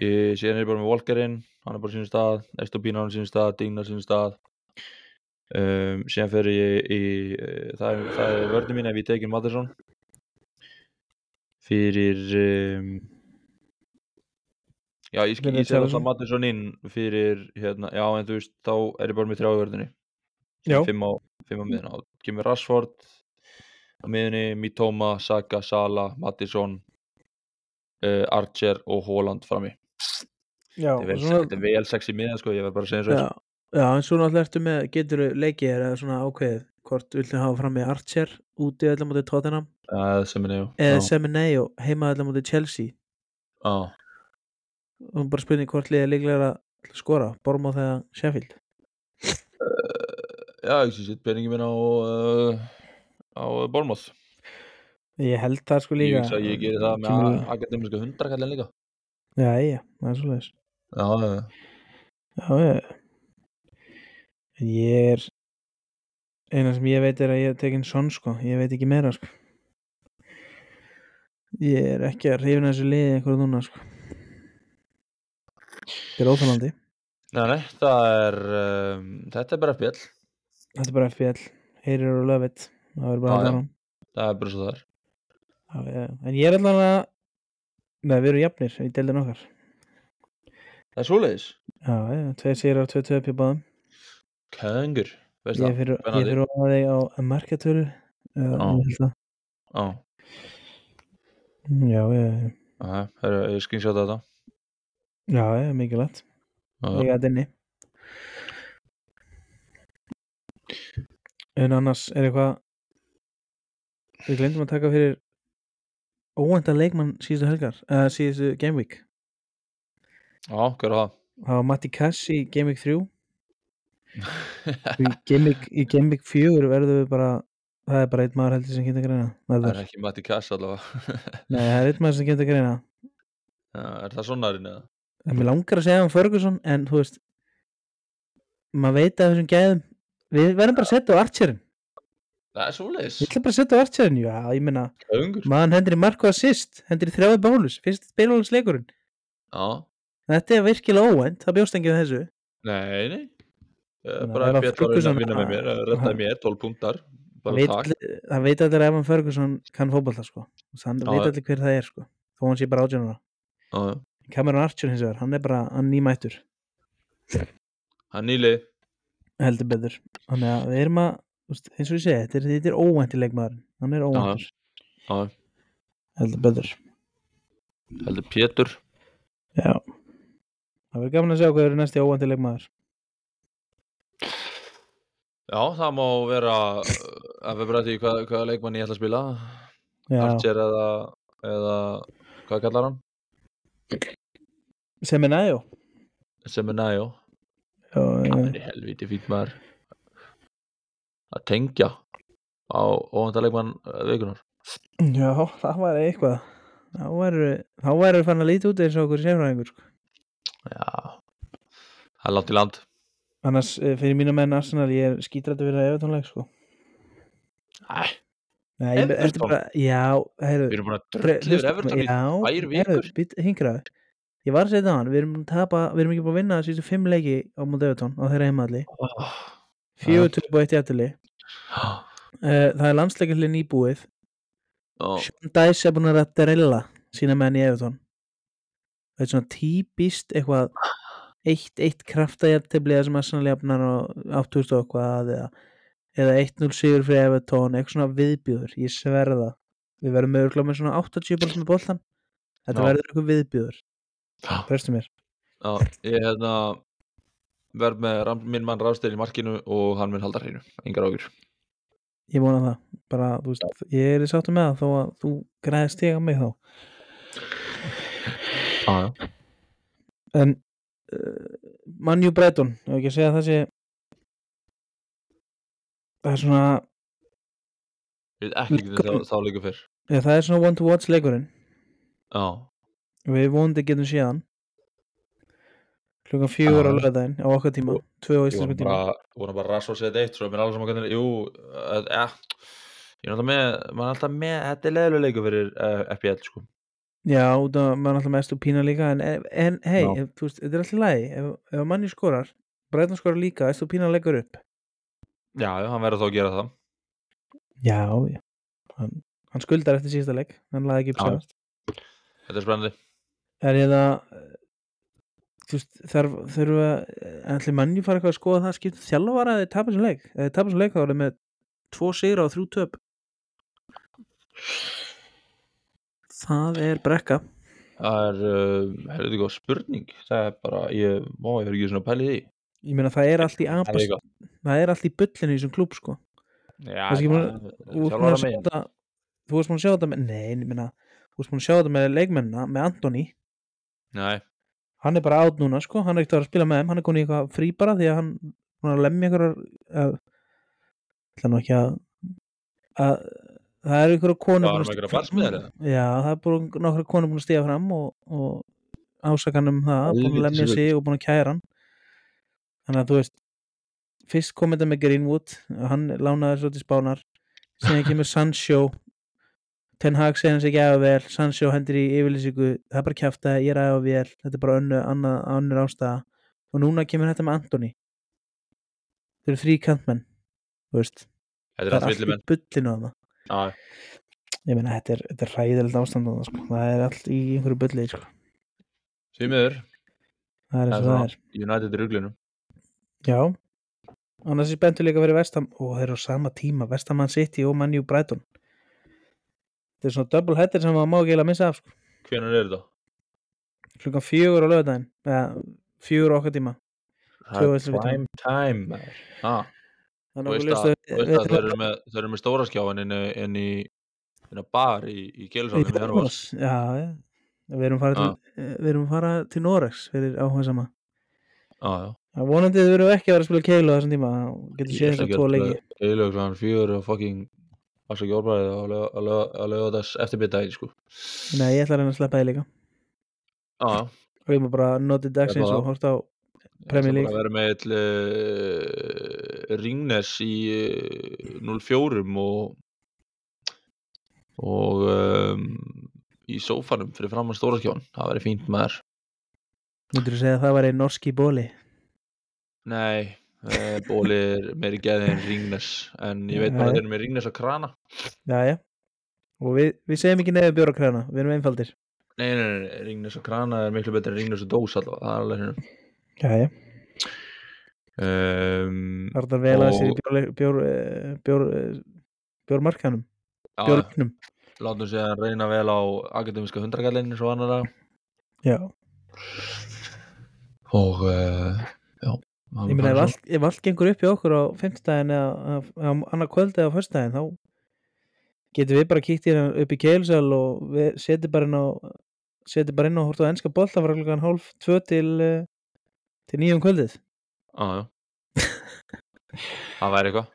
B: Ég- síðan er ég bara með Volkerinn hann er bara á sínum stað, Estopín hann sínum stað Dignar sínum stað um, síðan fer ég í eh, það er, það er vörnum mín ef ég tekið Mattersson fyrir um, já ég, sk-
A: Fyrir
B: ég set alltaf
A: Richarlison.
B: Mattersson inn fyrir hérna, já en þú veist þá er ég bara með þrjá í vörðinni
A: já
B: fimm á, fimm á miðuna og kemur Rashford á miðunni, Mitoma, Saka, Sala Mattisson uh, Archer og Holland frammi
A: já
B: þetta er vel,
A: og
B: svona...
A: svona-
B: vel sex í miðan sko, ég verð bara að segja eins og
A: já já, en svo náttúrulega ertu með getur leikið þér eða svona ákveðið hvort viltu hafa fram með Archer úti öllum út í Tottenham
B: er uh, sem er nefn
A: eða Semeneo heima öllum út í Chelsea
B: já,
A: og bara spurning hvort liðið er líklega að skora Bormóð þegar Sheffield
B: ég sé sitt peningi minn á uh, á Bormoth
A: ég held það sko
B: ég,
A: líka
B: hugsa að ég gerir það með
A: Kemur-
B: akademiska hundrakallin líka
A: já, já, það er svoleiðis
B: já, já, já.
A: já, já en ég er eina sem ég veit er að ég hef tekinn sonn sko ég veit ekki meira sko ég er ekki að hrifna þessu liði einhverju núna sko þetta er óþálandi
B: Nei, nei, það er um, þetta er bara spjall,
A: þetta er bara FBL, heyrir og löfitt það verður
B: Já,
A: bara
B: já.
A: allan
B: það er bara svo þar
A: Já, já. en ég er allan að neða, við erum jafnir í deildin okkar
B: það er svoleiðis,
A: Já, já, tveir sýrar, tveir töp í báðum
B: köngur veist
A: Ég
B: það,
A: fyrir, ég
B: spennandi.
A: fyrir ofan þig á markatölu eða,
B: Já.
A: ég held það.
B: á,
A: Já, ég,
B: það er, ég skynsjáta þetta
A: já, já, mikilvægt
B: Já.
A: Ég gæti inni En annars er eitthvað Við glemdum að taka fyrir óvænta leikmann síðustu helgar eða síðustu Game Week
B: Já, hvað er það?
A: Það var Matti Cash í Game Week 3 og í Game Week, í Game Week 4 verðum við bara það er bara einn maður heldur sem kynnt að greina
B: Það
A: Verður.
B: er ekki Matti Kass allavega.
A: Nei, það er einn maður sem kynnt að greina
B: Já, er það svonarinn eða?
A: En mér langar að segja um Ferguson en þú veist maður veit að þessum gæðum við verðum bara að setja á Archerin
B: Það er svoleiðis.
A: við ætlum bara að setja á Archerin, já, ég meina
B: Köngur.
A: maður hendur í marko assist, hendur í þrjáði bólus fyrst bílólis leikurinn,
B: Já.
A: þetta er virkilega óvænt það bjóst engið þessu
B: Nei, nei. Eh,
A: Þannig að
B: Bara
A: ef að
B: Björn var að vinna-
A: Ferguson-
B: vinna með mér,
A: Aha.
B: rettaði mér, 12 punktar. Bara
A: Veit-
B: takk.
A: það veit allir að Evan Ferguson kann fótballa sko, þann
B: Já,
A: veit
B: já.
A: allir hver það er sko, þó hann sé bara átjónara
B: Já, já.
A: Cameron Archer hins vegar, hann er bara hann er nýmættur,
B: Hann nýli.
A: heldur betur þannig að við erum að, þú veist, eins og ég segi þetta er, þetta er óvænt í leikmaðurinn, hann er óvæntur
B: Já, já.
A: heldur betur
B: heldur Pétur.
A: Já Það verður gaman að sjá hvað eru næsti óvandi leikmaður
B: Já, það má vera uh, að við bræði hvað, hvaða leikmann ég ætla að spila
A: já,
B: Archer eða, eða hvað kallar hann?
A: sem er næjó
B: Sem er næjó
A: já, já,
B: Það er helviti fýtt maður að tengja á óvænta leikmann uh, vikunar
A: já, það var eitthvað þá væru þá væru fann að líti út eins og okkur sérfræðingur sko.
B: Já, það er langt í land
A: annars eh, fyrir mínu menn Arsenal ég er skítrættu fyrir að efutónleik sko.
B: Æ,
A: Nei, ég- þetta er
B: Everton?
A: bara, já, heyrðu
B: við erum búin að
A: Bre-
B: drulla yfir
A: hlusta-
B: Everton í
A: já,
B: tvær vikur.
A: heyrðu, bít, hingraðu ég var að segja það hann, við erum, búin að tapa, við erum ekki búin að vinna síðustu fimm leiki á mútið Evertón á þeirra heimalli,
B: oh.
A: fjögur töp og eitt jættili uh, það er landsleikallin íbúið
B: oh.
A: Sean Dice er búin að drilla sína menn í Evertón það er svona típist eitthvað eitt, eitt kraftajættibli sem að sannleifnar á 8000 og eitthvað eða, eða 1-0 sigur fyrir Evertón eitthvað svona viðbjöður, ég sverða við verðum örugglega með svona 80% með boltan þetta
B: Já.
A: verður eitthvað viðbjöður Prestu mér
B: Já, ég hérna verð með ram, minn mann ráðstil í markinu og hann minn halda hreinu, engar ágjur
A: Ég vona það bara, þú veist, Ég er sáttu með það þó að þú græðist ég á mig þá
B: ah,
A: En uh, Manju Breiton Ég ekki að segja að það sé Það er svona
B: Við ekki getum þá, þá líka fyrr
A: ja, Það er svona one to watch leikurinn
B: Já,
A: Við vonandi getum síðan Klukkan fjögur á
B: Já.
A: lögðaðin á okkar tíma Tvö á
B: ég vona
A: íslensku tíma
B: bara, vona bara rasvað sér eitt svo er mér alveg saman hvernig, jú eh, ja, ég er alltaf með, maður er alltaf með þetta er leðilega leiku fyrir uh, FPL sko.
A: Já, út af maður er alltaf mest og pína líka En, en hei,
B: Já.
A: ef- þú veist, þetta er alltaf lægi Ef, ef manni skorar, Breiton skorar líka Þú pína leikur upp
B: Já, já, hann verður þá að gera það
A: Já, já Hann, hann skuldar eftir síðasta leik Hann laði ekki upp
B: Já.
A: sérast
B: Þetta er spennandi
A: Er ég það Þú veist, þarf, þurfa eh, Ætli mannjú fara eitthvað að skoða það Skipta þjálfara að þið tapir sem leik Ef þið tapir sem leik þá er þið með tvo sigra og þrjú töp Það er brekka
B: Það er, uh, heldur góð spurning Það er bara, ég, má, ég verður ekki svona pæli því
A: Ég meina það er allt í
B: Það er
A: abast
B: ekki gott.
A: Það er allt í bullinu í þessum klúb sko
B: Já,
A: Það er ekki
B: það-
A: Þú varst búin
B: þjálfara
A: að sjá
B: megin
A: þetta Þú varst búin að sjá þetta með Nei, ég meina Þú varst búin að sjá þetta með leikmennina Með Antoni
B: Nei,
A: hann er bara átt núna sko, hann er ekkert að vera að spila með þeim hann er komin í eitthvað frí bara því að hann hann er að lemja einhverjar uh, ætla nú ekki að, að það er einhverjar
B: það
A: konur búnar
B: var
A: að
B: með einhverja
A: stíga fram.
B: barsmiðar
A: já, það er búin nokkra konur búin að stíga fram og, og ásakan um það, búin að
B: Helvítis
A: lemja
B: rugl.
A: sig og búin að kæra hann þannig að þú veist fyrst kom þetta með Greenwood hann lánaði svo til spánar síðan kemur Sancho Ten Hag segir hans ekki aðeins vel Sancho hendur í yfirlýsingu það er bara kjæft að ég er aðeins vel þetta er bara önnu, annað, önnur ástæða og núna kemur þetta með Antoni þau eru þrý kantmenn þú veist,
B: Þetta
A: það
B: er
A: er
B: allt
A: allt
B: villið
A: í bullinu að það
B: menn
A: ég meina þetta er, þetta er ræðilegt ástand þarna, sko. það er allt í einhverju bulli sko.
B: Svímiður,
A: það er
B: Það er
A: eins og það
B: svona.
A: er
B: United er ruglunum
A: Já, annars er spenntur líka fyrir Vestam og þeir eru á sama tíma, Vestamann City og Manju Brighton Þetta er svona double header sem maður má ekki eiginlega missa af sko.
B: Hvenær er þetta?
A: klukkan fjögur á lögudaginn eða fjögur á okkar tíma
B: Það
A: Tvö
B: er
A: veislur í
B: prime time maður. ah, Þú
A: Þannig
B: veist
A: okkur ljóst
B: að,
A: að-
B: þú veist að þeir, eru með, þeir eru með stóra skjáin inn, í- inn í inn á bar í, í
A: Í
B: Gjölusalum í janúar
A: Jónas, Já, já. við erum farið til, við erum farið til Norex fyrir áhuga sama
B: ah, já.
A: vonandi þau verðum ekki að vera að spila keilu á þessum tíma þá getur
B: Ég
A: séð
B: ætla
A: þess
B: ekki
A: að tvo
B: að
A: leiki
B: eiginlega kláðan fjör og fucking afsaki orðbærið að löga þess eftirbyrða í sko
A: Nei, ég ætla að reyna að sleppa þið líka
B: ah,
A: og ég má bara notið dagsins
B: Sleppa það.
A: og hort á
B: ég
A: Premier
B: ætla bara
A: League
B: að vera með eitt uh, Ringnes í uh, 04 og og um, í sófanum fyrir framann stóra skjón það verið fínt maður
A: myndur þú segja að það væri norski bóli
B: Nei, eh, Bóli er meiri geði en Ringnes en ég veit bara
A: Nei.
B: að þeir eru með Ringnes að krana
A: Jæja Og við, við segjum ekki nefnir bjórakræna, við erum einfaldir
B: Nei, nei, nei, nei, Ringnes að krana er miklu betur en Ringnes að dós allavega, það er alveg hérna
A: Jæja
B: um,
A: Þar þarf vel að sér í
B: Og-
A: bjór, bjór, eh, bjór, eh, bjórmarkanum
B: Ehm, já,
A: Bjórlögnum
B: Látum sig að reyna vel á akademiska hundrakallin eins og annar dag
A: Já
B: og uh, já,
A: Ég meina ef allt, ef allt gengur upp í okkur á fimmtudaginn eða á annað kvöld eða á föstudaginn þá getum við bara kíkt í hérna upp í keilsal og við setjum bara inn á setjum bara inn og hortum á ennska bolta frá klukkan hálf tvö til eh, til nýjum kvöldið
B: Já, já Það væri eitthvað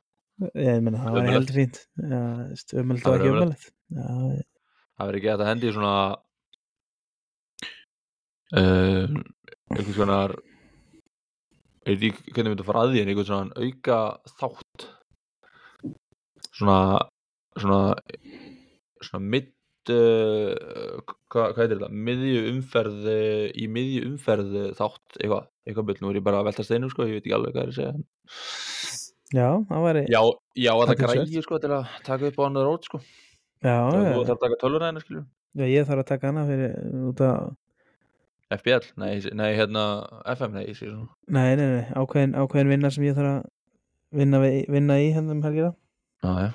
A: ég meina það var
B: Ömurlegt.
A: heldur fínt umöld
B: Það
A: og
B: væri
A: ekki umöld
B: ömurlegt.
A: já,
B: Það væri ekki hægt að hendi í svona uh, einhvers konar ég veit ekki hvernig myndi að fara að því en einhvern svona auka þátt svona svona svona midd Uh, hvað, hvað heitir þetta, miðju umferð uh, í miðju umferð uh, þátt eitthvað, eitthvað bull, nú er ég bara að velta steinu sko, ég veit ekki alveg hvað er að segja en-
A: já, það væri já,
B: já, já, þetta
A: Athyglisvert.
B: græði sko til að taka upp á annar rót sko, þú
A: Ah, já,
B: þarf að taka tölvuræðina skilur
A: já, ég þarf að taka hana fyrir eh, út að
B: FBL, nei, ég seg- nei hérna FM, nei, ég sé svona
A: nei, nei, nei, ákveðin, ákveðin vinna sem ég þarf að vinna, við, vinna í hérna um helgina
B: Ah, Já, já,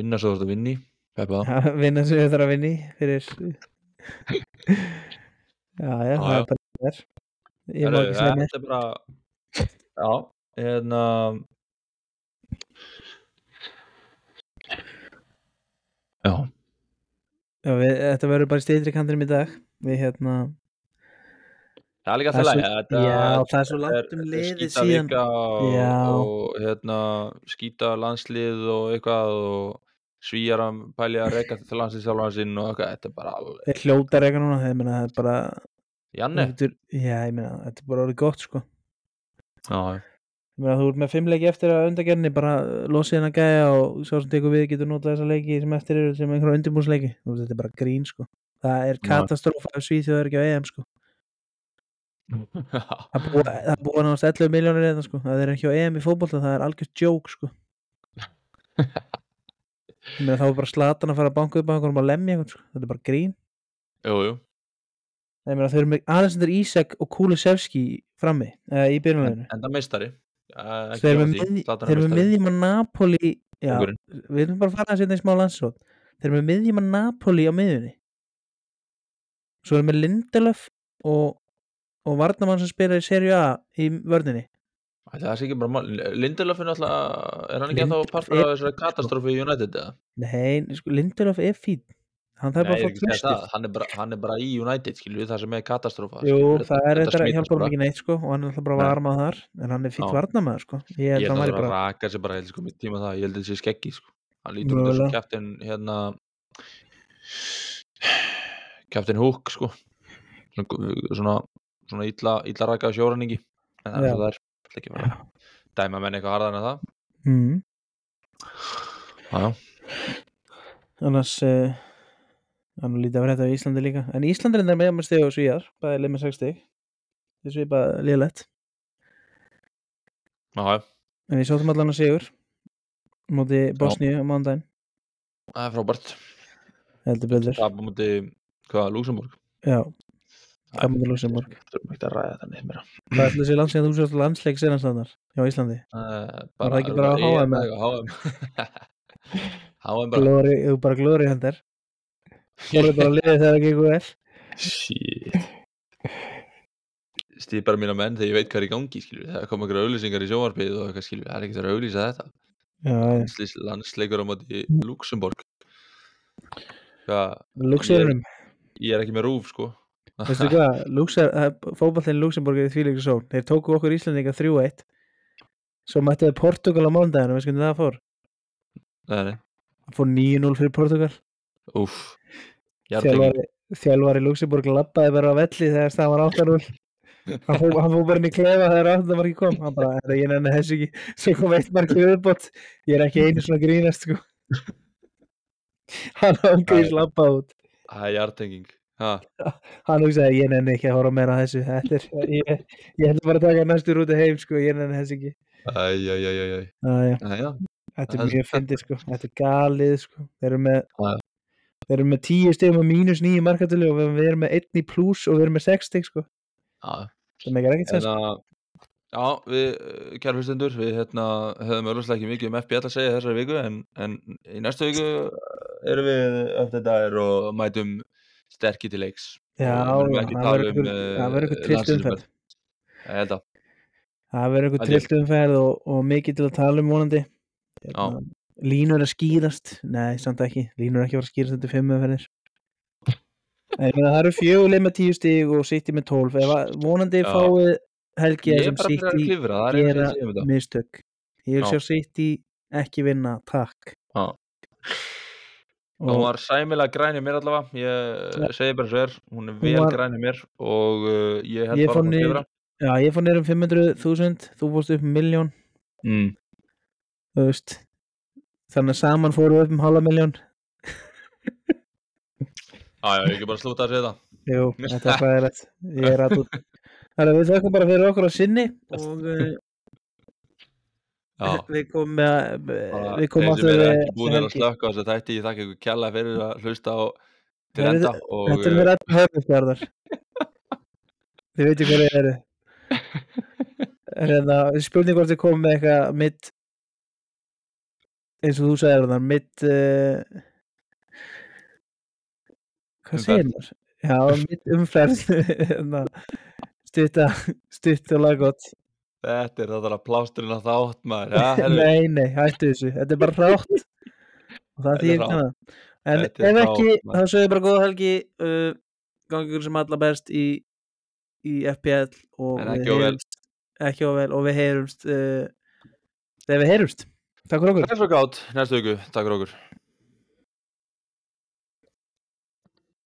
B: vinna svo þú ert að vinni Peppa það,
A: Já, vinna sem ég þarf að vinna í fyrir já, já,
B: Já,
A: það
B: já.
A: er bara það er ég má
B: Herru,
A: ekki
B: það
A: segja
B: er
A: mér
B: þetta bara Já, hérna Já,
A: já, við, þetta verður bara stýttri kantinum í dag við hérna
B: það er líka
A: það er
B: alltaf
A: svo-
B: læg þetta,
A: já, það er svo
B: þetta
A: langt um
B: þetta er
A: liðið síðan
B: skítavika
A: Já.
B: og, og hérna skýta landslið og eitthvað og svíjar að pælja að reyka til landsliðsjálfan sinn og eitthvað, þetta er bara alveg
A: þeir hljóta reyka núna þeir meina það er bara
B: Janne,
A: Þetta er- já, ég meina þetta er bara orðið gott sko
B: já, já
A: ég meina þú ert með fimm leiki eftir að undagerni bara losið hennar gæja og svo sem tekur við getur notað þessa leiki sem eftir eru sem einhverja undirbúrsleiki þetta er bara grín sko það er
B: Já.
A: katastrófa af Svíþjóðar ekki á EM sko Það búa- það búa náttúrulega 11 miljónir eða sko það er ekki á EM í fótbolta, það er algjörst joke sko ég meina þá er bara slatan að fara að banka upp á einhverjum að lemja einhvern sko, þetta er bara grín
B: Jú, jú
A: Nei, ég meina þau eru með Alexander Isak og Kulusevski frammi, eða í
B: en,
A: byrjunleginu
B: enda meistari Eh, ekki
A: þeir eru
B: hjá
A: með
B: því.
A: miðj-
B: Zlatan
A: þeir eru með
B: meistari.
A: miðjum að Napoli já,
B: Kóngurinn.
A: við erum bara að fara að setja í smá landsrót þeir eru með miðjum að Napoli á miðjunni svo erum við Lindelöf og, og Varnamann sem spilar í Serie A í vörninni
B: Ætli Það sé ekki bara mál Lindelöf er alltaf Er hann ekki
A: Lindelöf
B: alltaf partur af
A: er-
B: þessari katastrófi í United eða?
A: Nei, sko, Lindelöf er fín Hann þarf bara að
B: Nei, ég er
A: fá
B: ekki að segja það
A: tröstið
B: hann er, bara, hann er bara í United skilur við það sem er katastrófa
A: Jú,
B: Þetta-
A: það er þetta að
B: smitast
A: hjálpa hann
B: bara.
A: ekki neitt sko og hann er alltaf bara
B: Nei.
A: varmað þar en hann er fýtt
B: Já.
A: varnamaður sko Ég
B: Ég
A: held að
B: held
A: hann
B: að
A: væri
B: það
A: bara
B: raka sér bara Ég sko mitt tíma það Ég held að það sé skeggi sko Hann lítur út þessu
A: Mögulega.
B: kæftin hérna Kæftin Hook sko Svona- Svona Svona illa, illa raka sjóraningi En það er
A: Já.
B: svo það er Ég ætla ekki að fara að Dæma menn eitthvað harðan en það
A: mm.
B: Já, já.
A: Annars uh, hann lítið að vera þetta á Íslandi líka en Íslandi er með með stegu og svíjar bæði leið með 6 steg þess við bara liðlegt
B: Já, já.
A: en við sáttum allan að sigur móti Bosníu á mándaginn
B: það er frábært
A: heldur blöður
B: Það er bara múti Hvað, Luxemburg?
A: Já, það múti Luxemburg
B: Það er ekki að ræða það neitt meira
A: Hvað ætlaðu sér landsleik þú sátt landsleik senastandar hjá Íslandi?
B: Eh,
A: Var það ekki bara á
B: ég-
A: HM?
B: nei, HM HM bara
A: Glóri, þú bara glóri hendur Glóri bara liðið þegar það gengur vel
B: Shit Stýpar mína menn þegar ég veit hvað er í gangi skilur. Það koma einhverja auðlýsingar í sjónvarpið og eitthvað skilur Það er ekki það að auðlýsa þetta
A: Já, já.
B: Landslis, Landsleikur á móti Luxemburg Hvað,
A: Luxemburgum,
B: ég er ekki með rúf sko
A: veistu hvað Luxer, fótballin Luxemburg er í þvíleikur svo þeir tóku okkur Íslandinga 3-1 svo mættu þau Portugal á mándaginu veist hvernig það fór,
B: Nei, nei,
A: það fór 9-0 fyrir Portugal
B: úff Jartengi
A: þjálfari, þjálfari Luxemburg labbaði bara á velli þegar það var 8-0 hann fó- hann fór bara inn í klefa þegar 8 marki kom hann bara, "Herra, ég nenni þessu ekki svo kom eitt marki viðbót ég er ekki einu svona grínast sko hann ángriðis labbað út
B: Það er jartenging Ha,
A: hann hugsaði ég nenni ekki að horfa meira á þessu þetta er, ég, ég ætla bara að taka næstu rúti heim sko, ég nenni þessu ekki
B: æj, æj, æj, æj, æj
A: Æja,
B: Jæja,
A: þetta
B: Það
A: er
B: er-
A: mjög fyndið sko, þetta er galið sko þeir eru með,
B: Já, já.
A: þeir eru með tíu stegum og mínus nýju markatölu og við erum með einn í pluss og við erum með sex steg sko
B: já
A: það megar ekkert sens
B: hérna, já, við eh, kæru hlustendur, við hérna höfum öllumslega ekki mikið um FBL að segja þessari viku en, en í næstu viku eh, erum við eftir dagar og mætum sterkir til leiks
A: já,
B: og
A: já,
B: verðum ekki
A: það
B: tala
A: verður
B: um,
A: einhver-
B: eh,
A: það verður eitthvað trist umferð
B: landsliðsmenn. ég held
A: það verður
B: að Það
A: eitthvað
B: er-
A: trilltumferð og, og mikið til að tala um vonandi Hérna,
B: Já.
A: línur að skýrast nei, samt ekki, línur er ekki að fara að skýrast þetta er fimm umferðir Nei, ég meina, það eru fjöguleg með tíu stíg og City með tólf Ef að- vonandi
B: Já.
A: fáið helgi
B: Ég er
A: sem
B: bara fyrir að
A: City
B: klifra, það er
A: gera-
B: eitthvað að segja um þetta.
A: mistök ég vil
B: Já.
A: sjá City ekki vinna, takk
B: Já. Og hún
A: og
B: var sæmilega grænið mér allavega,
A: Já.
B: ég eh, segi bara svo er, hún er
A: Hún
B: vel
A: var-
B: grænið mér og uh, ég held
A: Ég
B: bara að
A: fann
B: hún
A: í-
B: klifra.
A: já, ég fór neyrum 500.000 þú fórst upp um miljón
B: Mm.
A: þú veist þannig að saman fóru upp um halva miljón
B: Já, já, ég ekki bara slúta að segja þetta.
A: Jú, þetta er fræðilegt Ég er að Þannig að við þökkum bara fyrir okkur á sinni og uh,
B: Já,
A: við komum með
B: bara
A: við komum
B: þeir sem
A: aftur
B: eru
A: eh,
B: ekki búin að
A: helgi.
B: slökka á þessu þætti, ég þakka ykkur kjalla fyrir að hlusta á til
A: Nei,
B: enda og
A: Þetta er
B: eh,
A: mér allir höfnstjörðar Þið veitum hverju þið eru Hérna, spurning hvort þið komum með eitthvað mitt eins og þú sagði þarna mitt uh, hvað segir þér? Já, mitt umferð hérna, stutta stutta og laggott
B: þetta er þetta plásturinn að þátt maður. Já, herru,
A: Nei, nei, hættu þessu, þetta er bara rátt og það
B: Þetta er
A: þýðir
B: rátt,
A: kannan en
B: Þetta er
A: ef
B: rátt,
A: ekki,
B: maður.
A: þá sögum við bara góða helgi uh, gangi ykkur sem alla best í, í FPL og
B: En
A: við
B: ekki of vel.
A: heyrumst- ekki óvel og við heyrumst uh, þegar við heyrumst Takk fyrir okkur
B: það er svo gátt, næstu ykkur, takk fyrir okkur.